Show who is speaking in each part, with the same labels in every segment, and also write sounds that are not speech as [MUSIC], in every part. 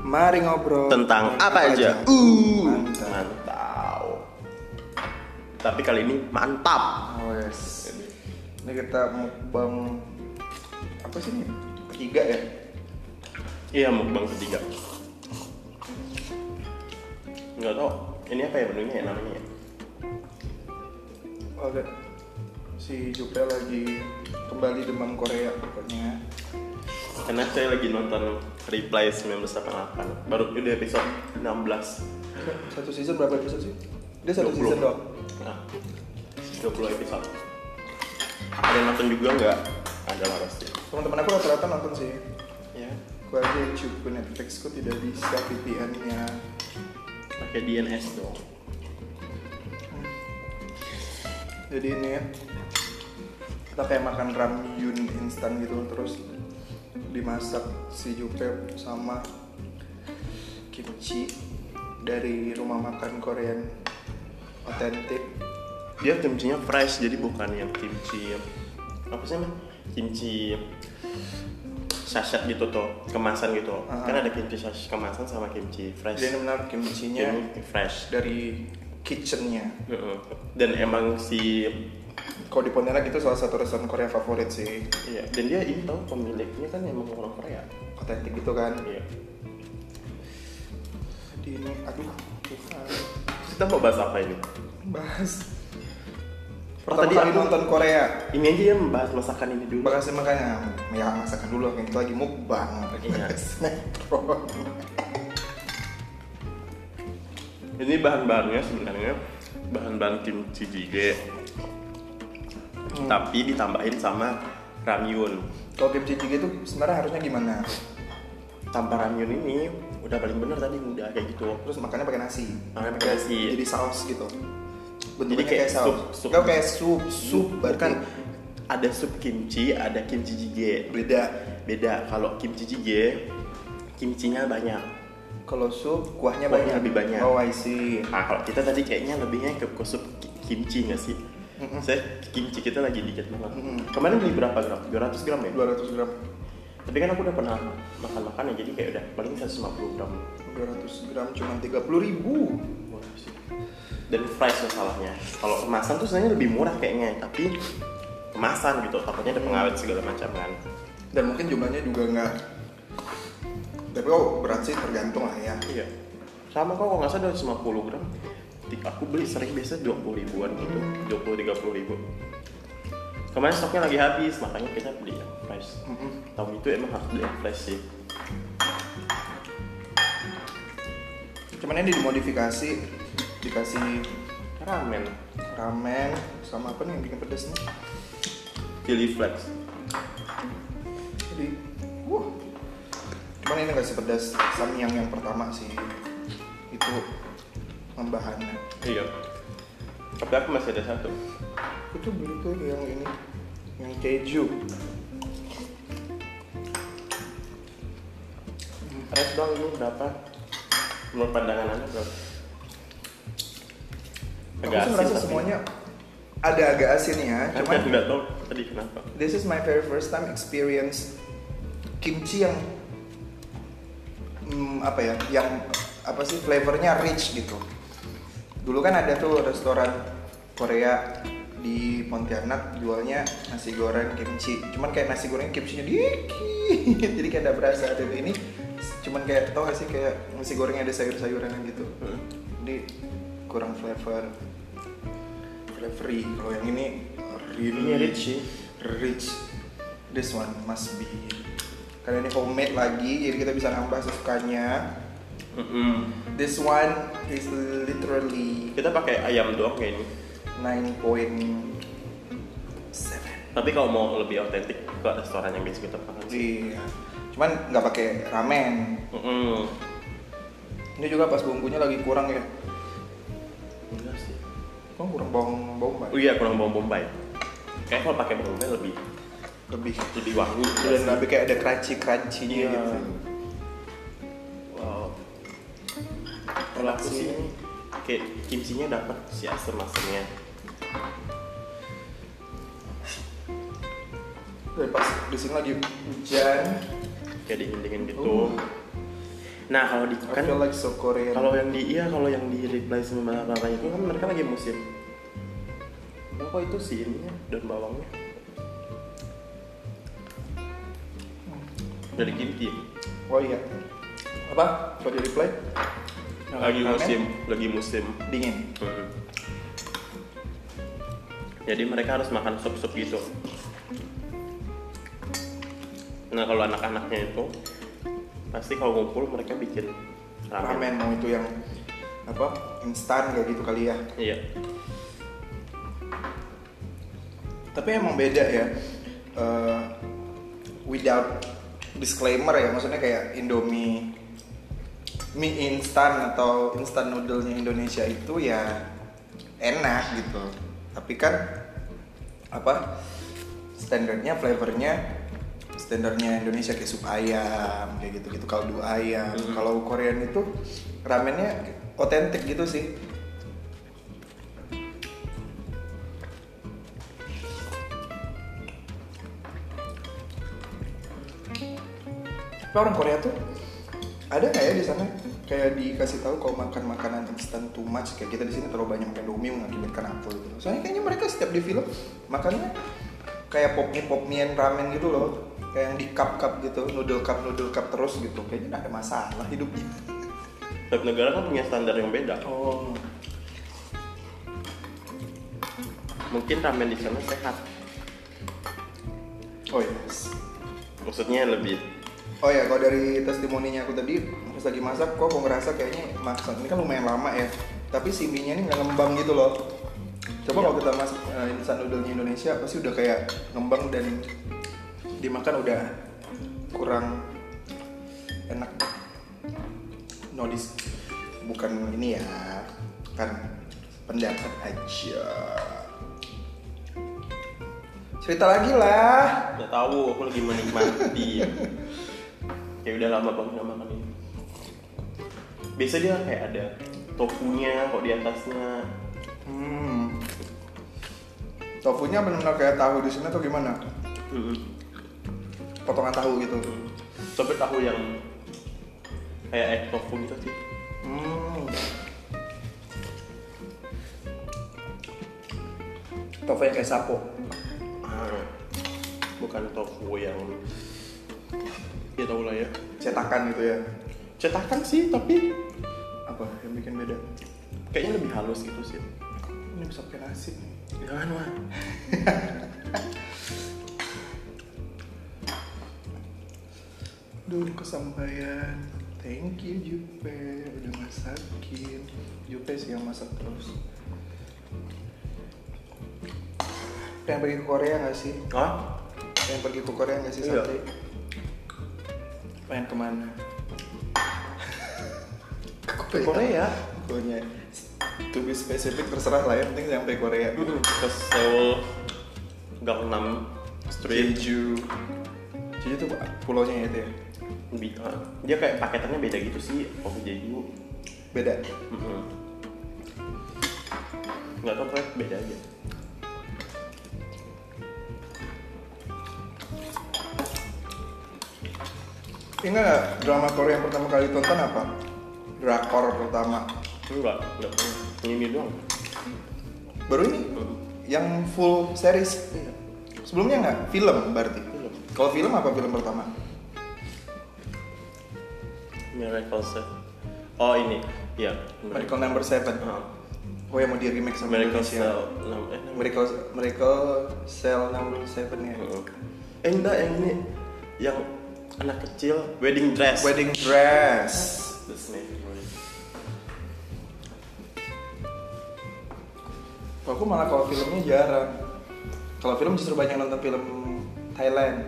Speaker 1: Mari ngobrol
Speaker 2: Tentang
Speaker 1: Mari
Speaker 2: apa aja?
Speaker 1: Uh. Mantap.
Speaker 2: Mantap. Tapi kali ini mantap.
Speaker 1: Oh, yes. Ini kita mukbang apa sih ini? Ketiga ya?
Speaker 2: Iya, mukbang ketiga. Enggak tahu ini apa ya menunya ya namanya. ya?
Speaker 1: Oke. Si Jupe lagi kembali demam Korea pokoknya.
Speaker 2: Karena saya lagi nonton Reply 1988. Baru udah episode 16.
Speaker 1: Satu season berapa episode sih? Dia satu
Speaker 2: 20.
Speaker 1: season doang.
Speaker 2: Nah, 20 episode. Ada yang nonton juga nggak? Ada lah pasti.
Speaker 1: Teman-teman aku rata-rata nonton sih.
Speaker 2: Ya,
Speaker 1: Gue aja yang cukup Netflix ku tidak bisa VPN-nya.
Speaker 2: pakai DNS dong.
Speaker 1: Jadi ini ya, kita kayak makan ramyun instan gitu terus dimasak si Jupe sama kimchi dari rumah makan Korean otentik
Speaker 2: Dia kimchinya fresh, jadi bukan yang kimchi apa sih namanya? Kimchi sachet gitu tuh, kemasan gitu.
Speaker 1: Ah.
Speaker 2: Kan ada kimchi sachet kemasan sama kimchi fresh.
Speaker 1: jadi benar kimchinya
Speaker 2: Ini fresh.
Speaker 1: dari kitchennya
Speaker 2: Heeh. Dan emang si
Speaker 1: kalau di Pontianak itu salah satu restoran Korea favorit sih
Speaker 2: iya, dan dia ini tau pemiliknya kan emang orang Korea.
Speaker 1: otentik gitu kan
Speaker 2: Iya.
Speaker 1: jadi ini aduh Tuhan
Speaker 2: Kita mau bahas apa ini?
Speaker 1: bahas
Speaker 2: Oh,
Speaker 1: pertama
Speaker 2: tadi
Speaker 1: kali
Speaker 2: aku-
Speaker 1: nonton Korea
Speaker 2: Ini aja ya membahas masakan ini dulu.
Speaker 1: Makasih makanya ya masakan dulu kan kita lagi mukbang [LAUGHS]
Speaker 2: Iya.
Speaker 1: Sinetron.
Speaker 2: Ini bahan-bahannya sebenarnya bahan-bahan kimchi jjigae. Tapi ditambahin sama ramyun.
Speaker 1: Kalau kimchi jjigae itu sebenarnya harusnya gimana?
Speaker 2: Tanpa ramyun ini udah paling bener tadi udah kayak gitu.
Speaker 1: Terus makannya pakai nasi.
Speaker 2: Makannya pakai nasi.
Speaker 1: Jadi saus gitu. Bentuknya
Speaker 2: Iya. kayak
Speaker 1: kayak, saus.
Speaker 2: sup- sup.
Speaker 1: Nggak, kayak sup, sup
Speaker 2: Bukan
Speaker 1: berarti
Speaker 2: ada sup kimchi, ada kimchi jjigae.
Speaker 1: beda.
Speaker 2: Beda kalau kimchi jjigae kimchinya banyak.
Speaker 1: Kalau sup kuahnya
Speaker 2: Kuahnya
Speaker 1: banyak
Speaker 2: lebih banyak.
Speaker 1: Oh, I see.
Speaker 2: Nah, kalau kita tadi kayaknya lebihnya ke ke sup ki- kimchi nggak sih? Saya kimchi kita lagi dikit banget.
Speaker 1: Mm-mm.
Speaker 2: Kemarin beli berapa gram? 200 gram ya?
Speaker 1: 200 gram.
Speaker 2: Tapi kan aku udah pernah makan-makan ya, jadi kayak udah paling 150 gram
Speaker 1: 200 gram cuma 30 ribu.
Speaker 2: Murah sih. Dan price masalahnya. Kalau kemasan tuh sebenarnya lebih murah kayaknya, tapi kemasan gitu, takutnya ada pengawet segala macam kan.
Speaker 1: Dan mungkin jumlahnya juga nggak tapi oh berat sih tergantung lah ya.
Speaker 2: Iya. Sama kok kalau nggak salah 250 gram. Ti- Aku beli sering biasa 20 ribuan gitu, 20 30 ribu. Kemarin stoknya lagi habis, makanya kita beli yang fresh.
Speaker 1: Mm-mm.
Speaker 2: Tahun itu emang harus beli yang fresh sih.
Speaker 1: Cuman ini dimodifikasi dikasih
Speaker 2: Ramen,
Speaker 1: ramen sama apa nih yang bikin pedes nih?
Speaker 2: chili flakes.
Speaker 1: Jadi, wah. Cuman ini nggak sepedas samyang yang pertama sih. Itu bahannya.
Speaker 2: Iya. Tapi aku masih ada satu.
Speaker 1: Itu beli tuh yang ini, yang keju.
Speaker 2: Res dong ini berapa? Menurut pandangan anda berapa?
Speaker 1: Aku sih merasa semuanya ada agak asin ya.
Speaker 2: Cuman
Speaker 1: Cuman
Speaker 2: nggak tahu tadi kenapa.
Speaker 1: this is my very first time experience kimchi yang hmm, apa ya yang apa sih flavornya rich gitu dulu kan ada tuh restoran Korea di Pontianak jualnya nasi goreng kimchi cuman kayak nasi goreng kimchinya dikit [LAUGHS] jadi kayak ada berasa ada ini cuman kayak tau gak sih kayak nasi gorengnya ada sayur-sayuran gitu
Speaker 2: Hmm.
Speaker 1: jadi kurang flavor flavory kalau yang ini really
Speaker 2: Ini rich sih.
Speaker 1: rich this one must be karena ini homemade lagi jadi kita bisa nambah sesukanya
Speaker 2: Mm-mm.
Speaker 1: this one is literally
Speaker 2: Kita pakai ayam doang kayak ini.
Speaker 1: 9.7
Speaker 2: Tapi kalau mau lebih otentik ke restoran yang biasa kita makan sih.
Speaker 1: iya cuman nggak pakai ramen
Speaker 2: Mm-mm.
Speaker 1: ini juga pas bumbunya lagi kurang ya
Speaker 2: Enggak sih.
Speaker 1: kan kurang bawang bawang Mbak?
Speaker 2: Oh iya kurang bawang bombay. Kayaknya kalau pakai bawang bombay lebih
Speaker 1: lebih
Speaker 2: lebih wangi.
Speaker 1: dan lebih kayak ada crunchy crunchynya
Speaker 2: Iya.
Speaker 1: gitu
Speaker 2: Wow. Kalau aku sih ini kayak kimchinya dapat si asem-asemnya.
Speaker 1: dan pas di sini lagi hujan
Speaker 2: kayak dingin dingin gitu
Speaker 1: Uh.
Speaker 2: Nah kalau di
Speaker 1: I
Speaker 2: kan
Speaker 1: feel like so Korean.
Speaker 2: kalau yang di iya kalau yang di reply sama apa itu kan mereka lagi musim. Nah, kok itu sih ininya daun bawangnya dari kimchi
Speaker 1: oh iya. Apa? Kalau di reply?
Speaker 2: lagi
Speaker 1: Ramen?
Speaker 2: musim lagi musim
Speaker 1: Dingin.
Speaker 2: Mhm. jadi mereka harus makan sup sup gitu nah kalau anak-anaknya itu pasti kalau ngumpul mereka bikin ramen,
Speaker 1: Ramen mau itu yang apa? Instan kayak gitu kali ya.
Speaker 2: iya
Speaker 1: Tapi emang beda ya. Eh, without disclaimer ya, maksudnya kayak Indomie mie instan atau instan noodle-nya Indonesia itu ya enak gitu. Tapi kan apa standarnya flavornya standarnya Indonesia kayak sup ayam kayak gitu gitu kaldu ayam
Speaker 2: Mhm.
Speaker 1: kalau Korean itu ramennya otentik gitu sih Tapi orang Korea tuh ada nggak ya di sana kayak dikasih tahu kalau makan makanan instan too much kayak kita di sini terlalu banyak makan domi mengakibatkan apa gitu. Soalnya kayaknya mereka setiap di film makannya kayak pop mie pop mie and ramen gitu loh kayak yang di cup cup gitu noodle cup noodle cup terus gitu kayaknya nggak ada masalah hidupnya.
Speaker 2: setiap negara kan punya standar yang beda
Speaker 1: Oh.
Speaker 2: mungkin ramen di sana sehat
Speaker 1: Oh yes.
Speaker 2: maksudnya lebih
Speaker 1: Oh ya, kalau dari testimoninya aku tadi pas lagi masak, kok aku ngerasa kayaknya masak ini kan lumayan lama ya. Tapi si mie-nya ini nggak ngembang gitu loh. Coba kalau kita masak eh, instan noodle-nya Indonesia pasti udah kayak ngembang dan dimakan udah kurang enak. No dis- bukan ini ya, kan pendapat aja. Cerita lagi lah.
Speaker 2: nggak tahu aku lagi menikmati ya udah lama banget nggak makan ini biasa dia kayak ada tofunya kok di atasnya
Speaker 1: Hmm. Tofunya benar-benar kayak tahu di sini atau gimana? Potongan tahu gitu.
Speaker 2: tapi tahu yang kayak egg tofu gitu sih
Speaker 1: Hmm. Tofu yang kayak sapo.
Speaker 2: Ah. bukan tofu yang ya tau lah ya
Speaker 1: Cetakan gitu ya.
Speaker 2: cetakan sih tapi
Speaker 1: Apa yang bikin beda?
Speaker 2: kayaknya lebih halus gitu sih
Speaker 1: Ini bisa pakai nasi nih.
Speaker 2: jangan mah
Speaker 1: Duh, kesampaian. Thank you Jupe, udah masakin. Jupe sih yang masak terus. Pengen pergi ke Korea nggak sih?
Speaker 2: ah
Speaker 1: Pengen pergi ke Korea nggak sih
Speaker 2: Iya.
Speaker 1: Santi? Pengen kemana?
Speaker 2: Ke Korea?
Speaker 1: Pokoknya to be specific terserah lah ya, yang penting sampai Korea.
Speaker 2: ke Seoul Gangnam Street
Speaker 1: Jeju. Jeju tuh pulaunya itu ya.
Speaker 2: Bi- ah, dia kayak paketannya beda gitu sih kopi Jeju
Speaker 1: Beda.
Speaker 2: Mm-mm. nggak tau kayak beda aja
Speaker 1: Ingat nggak drama Korea yang pertama kali tonton apa? Drakor pertama.
Speaker 2: enggak enggak pernah Yang ini doang
Speaker 1: Baru ini
Speaker 2: Mm.
Speaker 1: yang full series. Sebelumnya nggak? Film berarti.
Speaker 2: Iya. Film.
Speaker 1: Kalau film apa film pertama?
Speaker 2: Miracle Set oh ini uh, ya
Speaker 1: Miracle Number Seven. Oh yang mau di remake sama
Speaker 2: Miracle
Speaker 1: Indonesia.
Speaker 2: Cell Nam- eh, Nam-
Speaker 1: Miracle Miracle Cell 67 ya.
Speaker 2: Mm-mm. eh enggak yang ini yang anak kecil wedding dress
Speaker 1: Wedding dress.
Speaker 2: Disney
Speaker 1: Kalau aku malah kalau filmnya jarang. Kalau film justru banyak nonton film Thailand.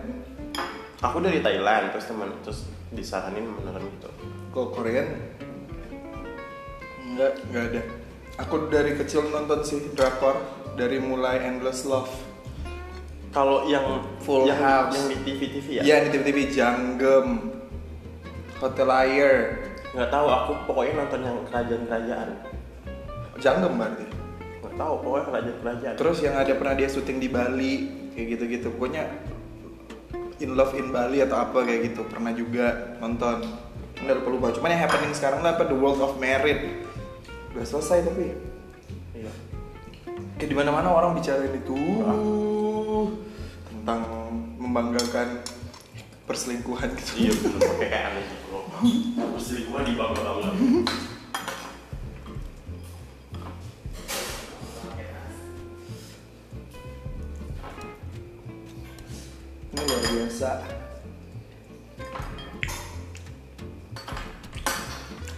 Speaker 2: aku dari Thailand terus teman terus disaranin beneran gitu
Speaker 1: Kalau Korean enggak, enggak ada. Aku dari kecil nonton sih drakor dari mulai Endless Love.
Speaker 2: kalau yang
Speaker 1: Full
Speaker 2: yang,
Speaker 1: House.
Speaker 2: yang di TV TV ya
Speaker 1: Iya, di TV-TV Janggem. Hotel Liar.
Speaker 2: nggak tahu aku pokoknya nonton yang kerajaan-kerajaan
Speaker 1: Janggem berarti.
Speaker 2: nggak tahu pokoknya kerajaan-kerajaan
Speaker 1: Terus yang ada pernah dia syuting di Bali kayak gitu-gitu. Pokoknya In Love in Bali atau apa kayak gitu. Pernah juga nonton. udah lupa lupa cuman yang happening sekarang lah apa the world of merit udah selesai tapi
Speaker 2: Iya.
Speaker 1: kayak di mana mana orang bicarain itu
Speaker 2: Ah.
Speaker 1: tentang membanggakan perselingkuhan gitu
Speaker 2: Iya bener pakai kayak aneh gitu loh. Perselingkuhan di bangga bangga.
Speaker 1: ini luar biasa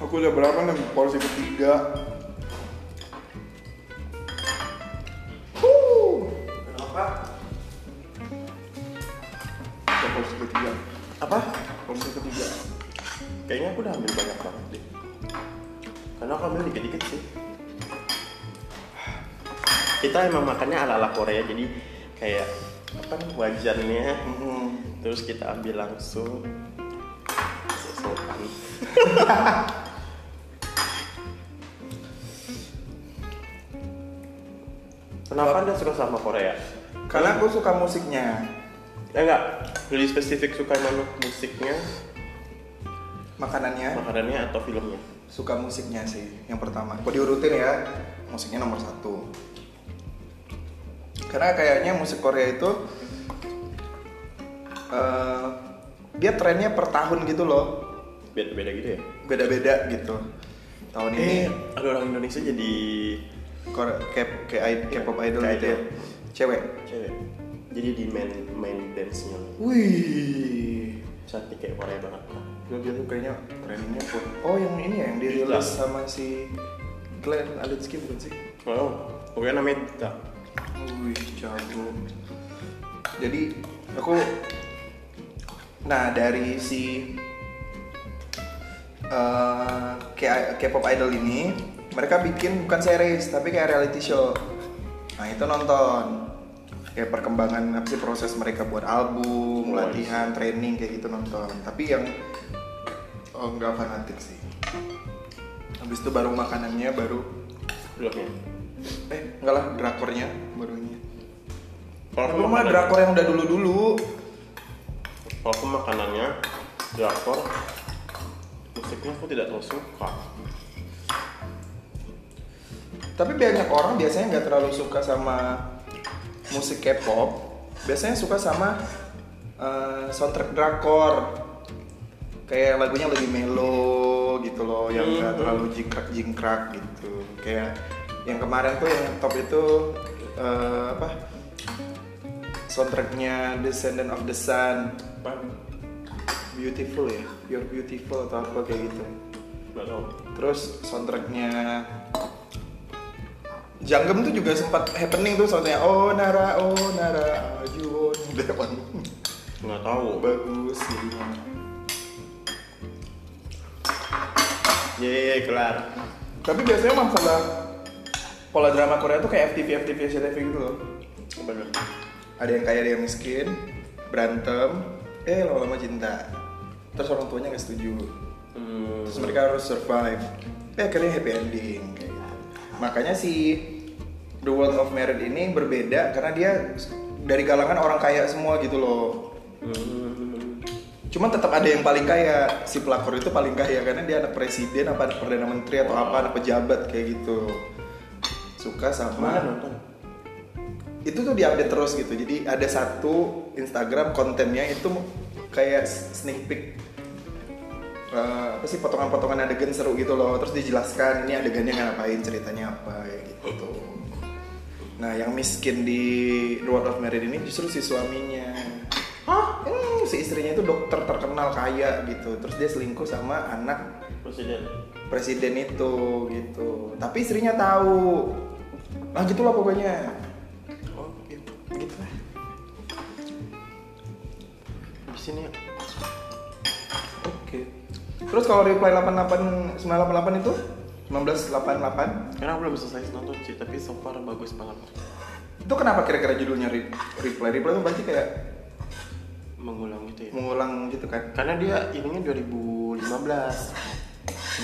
Speaker 1: aku udah berapa nih porsi ketiga Huh.
Speaker 2: Kenapa?
Speaker 1: Udah porsi ketiga apa porsi ketiga
Speaker 2: Kayaknya aku udah ambil banyak banget deh. Karena aku ambil dikit-dikit sih. Kita emang makannya ala-ala Korea jadi kayak apa nih wajannya
Speaker 1: Hmm.
Speaker 2: terus kita ambil langsung sopan [LAUGHS] kenapa anda suka sama Korea?
Speaker 1: karena aku suka musiknya
Speaker 2: Eh, enggak lebih spesifik suka mana musiknya
Speaker 1: makanannya
Speaker 2: makanannya atau filmnya
Speaker 1: suka musiknya sih yang pertama kalau diurutin ya musiknya nomor satu karena kayaknya musik Korea itu eh, dia trennya per tahun gitu loh
Speaker 2: beda-beda gitu ya
Speaker 1: beda-beda gitu tahun ini
Speaker 2: eh ada orang Indonesia jadi
Speaker 1: Korea, K- K- K-pop idol
Speaker 2: Iya, K-idol.
Speaker 1: gitu ya cewek
Speaker 2: cewek jadi di main main dance nya
Speaker 1: wih
Speaker 2: cantik kayak Korea banget
Speaker 1: gue dia tuh kayaknya trennya pun oh yang ini ya yang dirilis
Speaker 2: Diklat.
Speaker 1: sama si Glenn Alinsky bukan sih
Speaker 2: oh pokoknya namanya Dita
Speaker 1: Wih, jago. Jadi aku nah dari si eh, K- K-pop idol ini mereka bikin bukan series tapi kayak reality show. Nah, itu nonton kayak perkembangan apa sih proses mereka buat album,
Speaker 2: Wah,
Speaker 1: latihan, training kayak gitu nonton. Tapi yang oh, nggak fanatik sih. Habis itu baru makanannya baru
Speaker 2: filmnya
Speaker 1: eh enggak lah drakornya barunya
Speaker 2: kalau aku
Speaker 1: belum mah
Speaker 2: makanannya-
Speaker 1: drakor yang udah dulu-dulu
Speaker 2: kalau aku makanannya drakor musiknya aku tidak terlalu suka
Speaker 1: Tapi banyak orang biasanya nggak terlalu suka sama musik K-pop Biasanya suka sama eh, soundtrack drakor Kayak lagunya lebih melo gitu loh Yang nggak
Speaker 2: Hmm.
Speaker 1: terlalu jingkrak-jingkrak gitu Kayak yang kemarin tuh yang top itu eh, apa soundtracknya Descendant of the Sun
Speaker 2: apa
Speaker 1: Beautiful ya, You're Beautiful atau apa kayak gitu
Speaker 2: nggak tahu
Speaker 1: Terus soundtracknya Janggem tuh juga sempat happening tuh soundtracknya Oh Nara, oh Nara, [LAUGHS] Ajuon Dewan
Speaker 2: nggak tahu
Speaker 1: Bagus gitu
Speaker 2: ye kelar
Speaker 1: Tapi biasanya masalah pola drama Korea tuh kayak FTV, FTV, SCTV gitu loh
Speaker 2: bener
Speaker 1: Ada yang kaya, ada yang miskin Berantem Eh lama-lama cinta Terus orang tuanya gak setuju
Speaker 2: hmm.
Speaker 1: Terus mereka harus survive Eh akhirnya happy ending kayak gitu. Makanya si The World of Merit ini berbeda karena dia dari kalangan orang kaya semua gitu loh
Speaker 2: Hmm.
Speaker 1: Cuman tetap ada yang paling kaya Si pelakor itu paling kaya karena dia anak presiden apa anak perdana menteri atau apa anak pejabat kayak gitu Suka
Speaker 2: kemana
Speaker 1: sama
Speaker 2: nonton
Speaker 1: Itu tuh diupdate terus gitu Jadi ada satu Instagram kontennya itu kayak sneak peek eh, apa sih potongan-potongan adegan seru gitu loh terus dijelaskan ini adegannya ngapain ceritanya apa kayak gitu nah yang miskin di The World of Married ini justru si suaminya Hah? Hmm, si istrinya itu dokter terkenal kaya gitu terus dia selingkuh sama anak
Speaker 2: presiden
Speaker 1: presiden itu gitu tapi istrinya tahu nah gitulah pokoknya
Speaker 2: oh gitu gitu lah di sini ya
Speaker 1: oke terus kalau reply 88 988 itu 1988
Speaker 2: karena aku belum selesai nonton sih tapi so far bagus banget
Speaker 1: itu kenapa kira-kira judulnya re- reply reply itu berarti kayak
Speaker 2: mengulang gitu ya
Speaker 1: mengulang gitu kan
Speaker 2: karena dia ininya 2015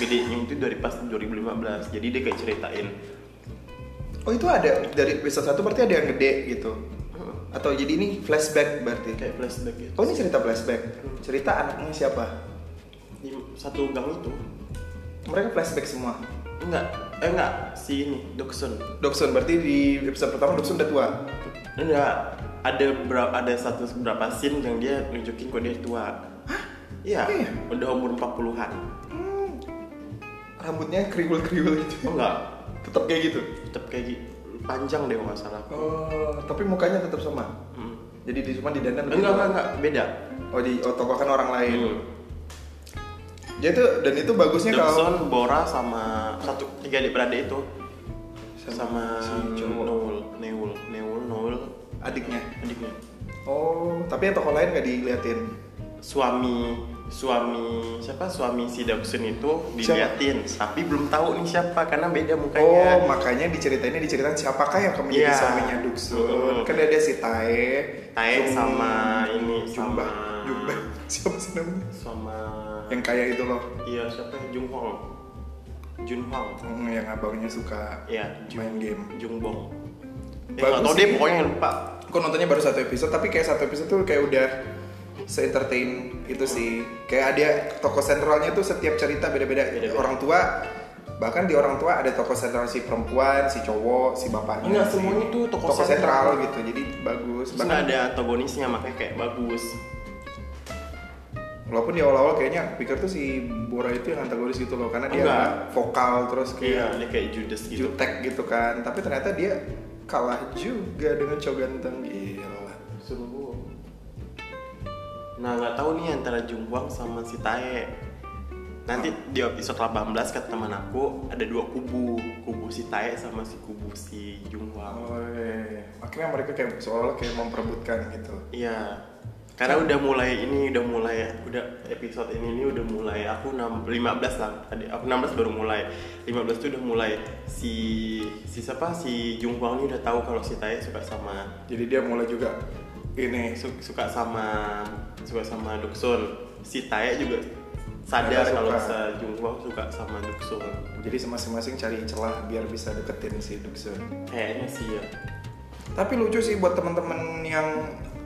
Speaker 2: gedenya itu dari pas 2015 jadi dia kayak ceritain
Speaker 1: oh itu ada dari episode satu berarti ada yang gede gitu
Speaker 2: Heeh.
Speaker 1: atau jadi ini flashback berarti
Speaker 2: kayak flashback gitu
Speaker 1: oh ini cerita flashback cerita anaknya siapa
Speaker 2: Di- satu gang itu
Speaker 1: Mereka flashback semua.
Speaker 2: enggak eh enggak si ini Dokson
Speaker 1: Dobson berarti di episode pertama Dobson udah tua.
Speaker 2: enggak ada berapa ada satu berapa scene yang dia nunjukin kok dia tua iya
Speaker 1: Iya.
Speaker 2: udah umur
Speaker 1: [LAUGHS]
Speaker 2: 40-an
Speaker 1: Rambutnya kriwil-kriwil gitu.
Speaker 2: oh enggak
Speaker 1: Tetap kayak gitu.
Speaker 2: tetap kayak gitu panjang deh kalau nggak salah
Speaker 1: Oh, tapi mukanya tetap sama.
Speaker 2: Hmm.
Speaker 1: Jadi di cuma di dandan lebih
Speaker 2: Eh, enggak
Speaker 1: tua.
Speaker 2: enggak enggak beda
Speaker 1: Oh di oh, tokokan orang lain.
Speaker 2: Hmm.
Speaker 1: Dia tuh dan itu bagusnya kalau
Speaker 2: Dobson, Bora sama satu tiga adik beradik itu sama,
Speaker 1: si cowok
Speaker 2: Neul, Neul, Neul, Neul,
Speaker 1: adiknya.
Speaker 2: adiknya.
Speaker 1: Oh, tapi yang tokoh lain nggak diliatin.
Speaker 2: Suami suami siapa suami si Dobson itu diliatin tapi belum tahu nih siapa karena beda
Speaker 1: Oh,
Speaker 2: mukanya.
Speaker 1: makanya diceritainnya diceritakan siapakah yang akan menjadi
Speaker 2: ya. Iya.
Speaker 1: suaminya Duksun.
Speaker 2: Mm.
Speaker 1: Kan ada si Tae,
Speaker 2: Tae
Speaker 1: Jung-
Speaker 2: sama ini
Speaker 1: Jumba,
Speaker 2: sama
Speaker 1: Jumba. [LAUGHS] Siapa sih namanya?
Speaker 2: sama
Speaker 1: Yang kaya itu loh,
Speaker 2: iya siapa Jung Hong. Jun Hong.
Speaker 1: Hmm, yang abangnya suka
Speaker 2: Iya,
Speaker 1: main game.
Speaker 2: Jung Bong. Eh,
Speaker 1: Bagus
Speaker 2: nggak tahu
Speaker 1: sih.
Speaker 2: deh pokoknya lupa.
Speaker 1: Gue nontonnya baru satu episode, tapi kayak satu episode tuh kayak udah se-entertain itu sih. Kayak ada tokoh sentralnya tuh setiap cerita beda-beda.
Speaker 2: Beda-beda.
Speaker 1: Orang tua, bahkan di orang tua ada tokoh sentral si perempuan, si cowok, si bapaknya.
Speaker 2: Enggak,
Speaker 1: si-
Speaker 2: semuanya tuh tokoh
Speaker 1: tokoh
Speaker 2: sentral.
Speaker 1: sentral gitu. Jadi bagus.
Speaker 2: Terus
Speaker 1: Bahkan
Speaker 2: nggak ada antagonisnya makanya kayak bagus.
Speaker 1: walaupun di awal-awal kayaknya aku pikir tuh si Bora itu yang antagonis gitu loh, karena dia
Speaker 2: Enggak.
Speaker 1: vokal terus
Speaker 2: Iya,
Speaker 1: kayak
Speaker 2: dia kayak Judas gitu.
Speaker 1: jutek gitu kan. Tapi ternyata dia kalah juga dengan cowok ganteng. Gila.
Speaker 2: Sungguh. Nah nggak tahu nih antara Jungwang sama si Tae. Nanti di episode 18 kata teman aku ada dua kubu, kubu si Tae sama si kubu si Jungwang.
Speaker 1: Oh, iya. akhirnya mereka kayak seolah kayak memperebutkan gitu.
Speaker 2: Iya. Karena udah mulai ini, udah mulai, udah episode ini ini udah mulai. Aku 6, 15 lah tadi. Aku 16 baru mulai. 15 tuh udah mulai si si siapa si Jungwang ini udah tahu kalau si Tae suka sama
Speaker 1: Jadi dia mulai juga ini
Speaker 2: Su- suka sama suka sama Duxon si Tae juga sadar
Speaker 1: Karena
Speaker 2: kalau
Speaker 1: suka.
Speaker 2: se Jungkook suka sama Duxon
Speaker 1: jadi masing-masing cari celah biar bisa deketin si Duxun.
Speaker 2: kayaknya sih ya
Speaker 1: Tapi lucu sih buat teman-teman yang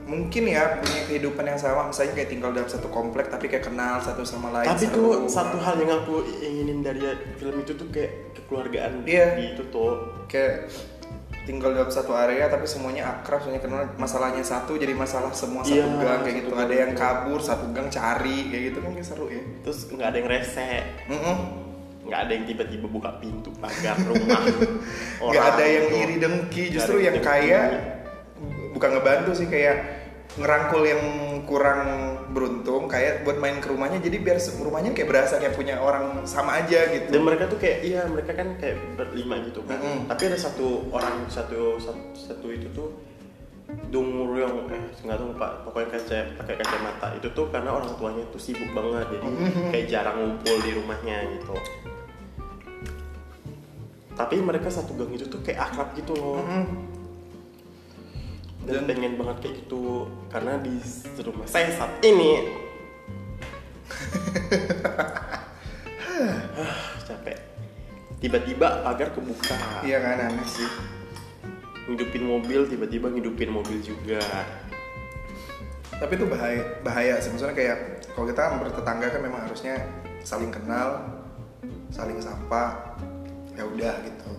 Speaker 1: mungkin ya punya kehidupan yang sama misalnya kayak tinggal dalam satu komplek tapi kayak kenal satu sama lain.
Speaker 2: tapi
Speaker 1: seru.
Speaker 2: tuh satu hal yang aku inginin dari film itu tuh kayak kekeluargaan
Speaker 1: Iya.
Speaker 2: gitu tuh
Speaker 1: kayak tinggal dalam satu area tapi semuanya akrab semuanya kenal masalahnya satu jadi masalah semua satu
Speaker 2: Iya,
Speaker 1: gang kayak gitu
Speaker 2: satu
Speaker 1: ada
Speaker 2: gang.
Speaker 1: yang kabur satu gang cari kayak gitu kan kayak seru ya.
Speaker 2: terus nggak ada yang rese
Speaker 1: Mm-mm.
Speaker 2: nggak ada yang tiba-tiba buka pintu pagar
Speaker 1: [LAUGHS]
Speaker 2: rumah orang
Speaker 1: nggak ada yang
Speaker 2: gitu.
Speaker 1: iri dengki
Speaker 2: Nggak
Speaker 1: justru
Speaker 2: ada
Speaker 1: yang
Speaker 2: dengki.
Speaker 1: kaya bukan ngebantu sih kayak ngerangkul yang kurang beruntung kayak buat main ke rumahnya jadi biar se- rumahnya kayak berasa kayak punya orang sama aja gitu
Speaker 2: dan mereka tuh kayak iya mereka kan kayak berlima gitu kan
Speaker 1: Mm-mm.
Speaker 2: tapi ada satu orang satu satu, satu itu tuh dungur yang eh nggak tahu pak pokoknya kaca pakai kacamata itu tuh karena orang tuanya tuh sibuk banget jadi
Speaker 1: Mm-hmm.
Speaker 2: kayak jarang ngumpul di rumahnya gitu tapi mereka satu gang itu tuh kayak akrab gitu loh
Speaker 1: Mm-mm. Dan-
Speaker 2: dan, pengen banget kayak gitu karena di rumah saya saat
Speaker 1: [LAUGHS]
Speaker 2: ini Hah, capek tiba-tiba pagar kebuka
Speaker 1: iya kan aneh sih
Speaker 2: ngidupin mobil tiba-tiba ngidupin mobil juga
Speaker 1: tapi itu bahaya bahaya sih maksudnya kayak kalau kita bertetangga kan memang harusnya saling kenal saling sapa ya udah gitu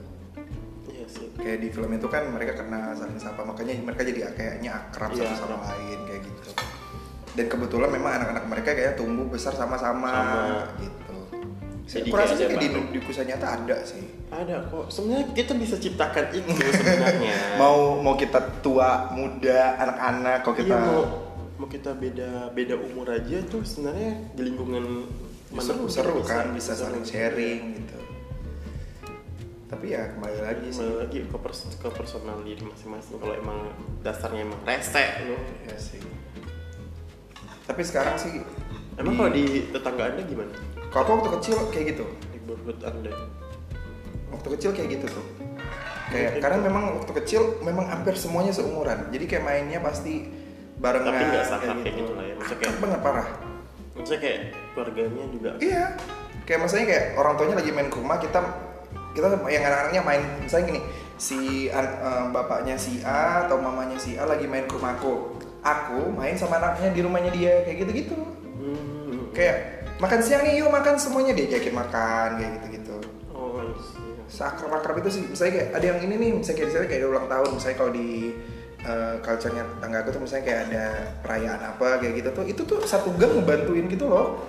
Speaker 2: iya sih
Speaker 1: kayak di film itu kan mereka kenal saling sapa makanya mereka jadi kayaknya akrab
Speaker 2: Iya,
Speaker 1: satu sama
Speaker 2: akrab.
Speaker 1: lain kayak gitu dan kebetulan memang anak-anak mereka kayak tumbuh besar sama-sama
Speaker 2: Sama.
Speaker 1: gitu
Speaker 2: Jadi
Speaker 1: jadi kurasa
Speaker 2: kayak
Speaker 1: sih
Speaker 2: ada
Speaker 1: kayak di,
Speaker 2: bakat.
Speaker 1: di kisah nyata ada sih
Speaker 2: ada kok sebenarnya kita bisa ciptakan itu sebenarnya
Speaker 1: [LAUGHS] mau mau kita tua muda anak-anak kalau kita
Speaker 2: iya, mau mau kita beda beda umur aja tuh sebenarnya di lingkungan mana
Speaker 1: seru
Speaker 2: pun
Speaker 1: seru
Speaker 2: kita
Speaker 1: kan bisa
Speaker 2: seru.
Speaker 1: saling sharing gitu tapi ya kembali lagi sih
Speaker 2: Kembali lagi ke, pers- ke personal diri masing-masing kalau emang dasarnya emang rese lo
Speaker 1: ya sih tapi sekarang sih
Speaker 2: emang kalau
Speaker 1: Iya.
Speaker 2: di tetangga anda gimana
Speaker 1: kalau aku waktu kecil kayak gitu
Speaker 2: di neighborhood anda
Speaker 1: waktu kecil kayak gitu tuh kayak
Speaker 2: Kayak
Speaker 1: karena memang waktu kecil memang hampir semuanya seumuran jadi kayak mainnya pasti barengan
Speaker 2: tapi nggak salah kayak gitu lah ya maksudnya kayak
Speaker 1: Akrab banget parah
Speaker 2: maksudnya kayak keluarganya juga
Speaker 1: iya kayak misalnya kayak orang tuanya lagi main ke rumah kita kita yang anak-anaknya main misalnya gini si an- eh, bapaknya si A atau mamanya si A lagi main ke rumahku aku main sama anaknya di rumahnya dia kayak gitu gitu
Speaker 2: hmm,
Speaker 1: kayak makan siang nih yuk makan semuanya diajakin makan kayak gitu gitu
Speaker 2: Oh, I see.
Speaker 1: seakrab-akrab itu sih misalnya kayak ada yang ini nih misalnya kayak misalnya kayak ada ulang tahun misalnya kalau di eh, culture-nya tetangga aku tuh misalnya kayak ada perayaan apa kayak gitu tuh itu tuh satu gang ngebantuin gitu loh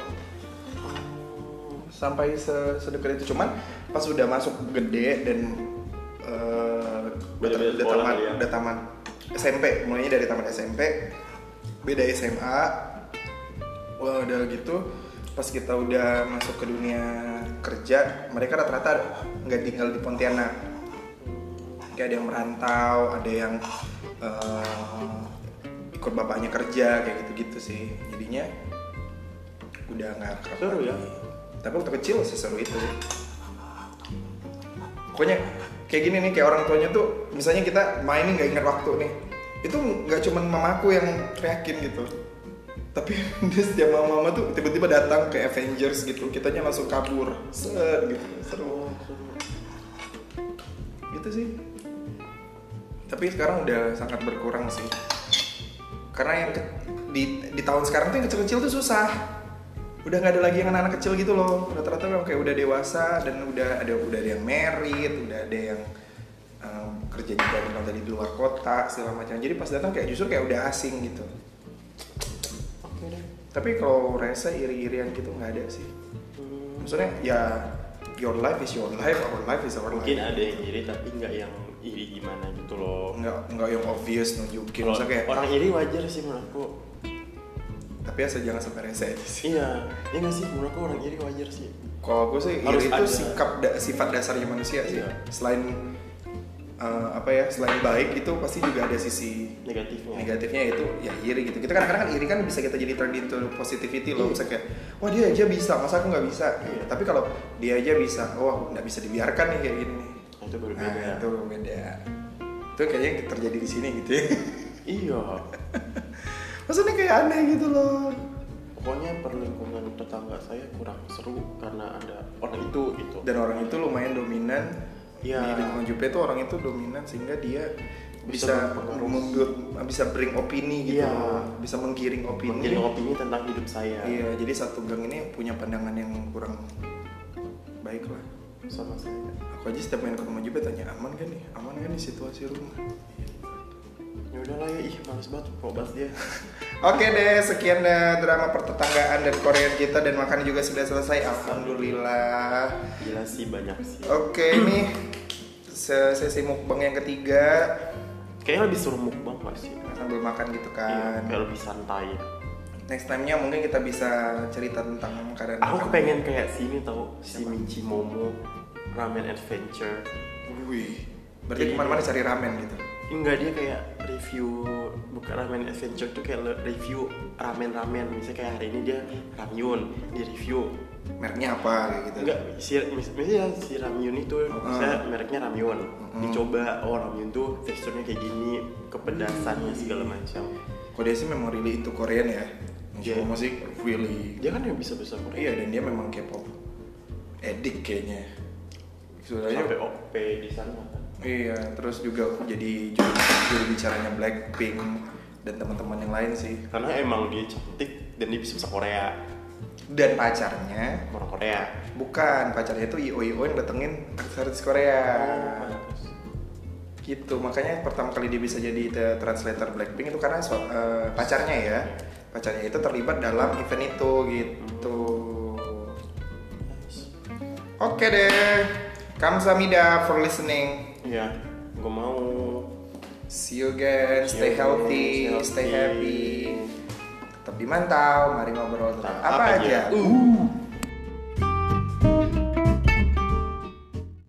Speaker 1: sampai se- sedekat itu cuman pas udah masuk gede dan eh, udah,
Speaker 2: Beda-beda
Speaker 1: udah
Speaker 2: sekolah
Speaker 1: tamat
Speaker 2: kali ya.
Speaker 1: udah tamat SMP mulainya dari tamat SMP beda SMA wah udah gitu pas kita udah masuk ke dunia kerja mereka rata-rata nggak tinggal di Pontianak kayak ada yang merantau ada yang eh, ikut bapaknya kerja kayak gitu-gitu sih jadinya udah nggak akrab
Speaker 2: Seru ya?
Speaker 1: lagi. tapi waktu kecil seseru itu pokoknya kayak gini nih kayak orang tuanya tuh misalnya kita main nih nggak ingat waktu nih itu nggak cuman mamaku yang teriakin gitu tapi [LAUGHS] dia setiap mama mama tuh tiba-tiba datang ke Avengers gitu kitanya langsung kabur set gitu seru
Speaker 2: Oh,
Speaker 1: gitu sih tapi sekarang udah sangat berkurang sih karena yang ke- di, di tahun sekarang tuh yang kecil-kecil tuh susah udah nggak ada lagi yang anak-anak kecil gitu loh rata-rata memang kayak udah dewasa dan udah ada udah ada yang merit udah ada yang em, kerja di kantor tadi di luar kota segala macam jadi pas datang kayak justru kayak udah asing gitu
Speaker 2: Oke deh.
Speaker 1: tapi kalau rasa iri-irian gitu nggak ada sih
Speaker 2: Hmm,
Speaker 1: maksudnya ya your life is your life our life is our
Speaker 2: Mungkin
Speaker 1: life
Speaker 2: ada yang iri tapi nggak yang iri gimana gitu loh.
Speaker 1: nggak nggak yang obvious nunjukin
Speaker 2: Kalau
Speaker 1: Maksudnya kayak
Speaker 2: orang iri wajar sih menurutku.
Speaker 1: tapi asal jangan sampai rese aja sih
Speaker 2: Iya, iya nggak sih menurutku orang iri wajar sih.
Speaker 1: kalau gue sih
Speaker 2: Harus
Speaker 1: iri itu
Speaker 2: ada.
Speaker 1: sikap da- sifat dasarnya manusia sih
Speaker 2: Iya.
Speaker 1: selain eh, apa ya selain baik itu pasti juga ada sisi
Speaker 2: Negatifnya.
Speaker 1: negatifnya yaitu ya iri gitu kita kadang-kadang kan iri kan bisa kita jadi turn into positivity loh bisa kayak wah dia aja bisa masa aku nggak bisa Gitu.
Speaker 2: Iya.
Speaker 1: tapi kalau dia aja bisa wah nggak bisa dibiarkan nih kayak gini nih
Speaker 2: Nah, Itu berbeda.
Speaker 1: nah itu beda itu kayaknya yang terjadi di sini gitu ya [LAUGHS]
Speaker 2: Iya.
Speaker 1: maksudnya kayak aneh gitu loh
Speaker 2: Pokoknya perlingkungan tetangga saya kurang seru karena ada orang itu gitu.
Speaker 1: dan orang itu lumayan dominan
Speaker 2: Iya.
Speaker 1: di lingkungan Jupe itu orang itu dominan sehingga dia
Speaker 2: Bisa
Speaker 1: bisa
Speaker 2: mempengaruhi.
Speaker 1: membuat- bisa bring opini gitu
Speaker 2: Iya.
Speaker 1: loh. bisa menggiring opini
Speaker 2: Mungkin opini ya. tentang hidup saya
Speaker 1: iya jadi satu gang ini punya pandangan yang kurang baik lah
Speaker 2: sama saya.
Speaker 1: aku aja setiap main ke rumah Jupe tanya aman kan nih aman kan nih situasi rumah
Speaker 2: Ya udahlah ya, ih males banget kok bahas
Speaker 1: [LAUGHS]
Speaker 2: dia.
Speaker 1: Oke deh, sekian deh drama pertetanggaan dan Korean kita dan makan juga sudah selesai. Alhamdulillah.
Speaker 2: Gila sih banyak sih.
Speaker 1: Oke nih se- sesi mukbang yang ketiga
Speaker 2: Kayaknya lebih seru mukbang nggak sih.
Speaker 1: sambil makan gitu
Speaker 2: Iya,
Speaker 1: kan.
Speaker 2: kayak lebih santai.
Speaker 1: Next time-nya mungkin kita bisa cerita tentang keadaan
Speaker 2: Aku
Speaker 1: makan.
Speaker 2: pengen kayak sini tau si Minci Momo Ramen Adventure.
Speaker 1: Wih, berarti
Speaker 2: Iya.
Speaker 1: kemana-mana cari ramen gitu.
Speaker 2: Enggak dia kayak review bukan ramen adventure tuh kayak le- review ramen-ramen. Misalnya kayak hari ini dia ramyun, dia review.
Speaker 1: Mereknya apa kayak gitu.
Speaker 2: Enggak si mis- misalnya si ramyun itu misalnya mereknya ramyun. Dicoba oh ramyun tuh teksturnya kayak gini, kepedasannya segala macam.
Speaker 1: Kalau dia sih memang really into Korean ya.
Speaker 2: Iya.
Speaker 1: Dia musik really.
Speaker 2: Dia kan yang bisa besar Korea.
Speaker 1: Iya dan dia memang K-pop edik kayaknya. Sebenarnya
Speaker 2: Sampai OP di sana kan.
Speaker 1: Iya, terus juga aku jadi juru, juru bicaranya Blackpink dan teman-teman yang lain sih.
Speaker 2: Karena emang dia cantik dan dia bisa bahasa Korea,
Speaker 1: Dan pacarnya
Speaker 2: orang Korea.
Speaker 1: bukan pacarnya itu IO IO yang datengin artis Korea. Ah.
Speaker 2: Oh,
Speaker 1: Gitu, makanya pertama kali dia bisa jadi the translator Blackpink itu karena so- eh, pacarnya ya. Pacarnya itu terlibat dalam event itu gitu. Oke deh. Kamsahamnida for listening.
Speaker 2: Iya, gue mau
Speaker 1: See you again. Stay
Speaker 2: See you again.
Speaker 1: healthy,
Speaker 2: Stay
Speaker 1: stay
Speaker 2: healthy.
Speaker 1: happy. Tetap dimantau. Mari ngobrol tentang apa, aja.
Speaker 2: Uh.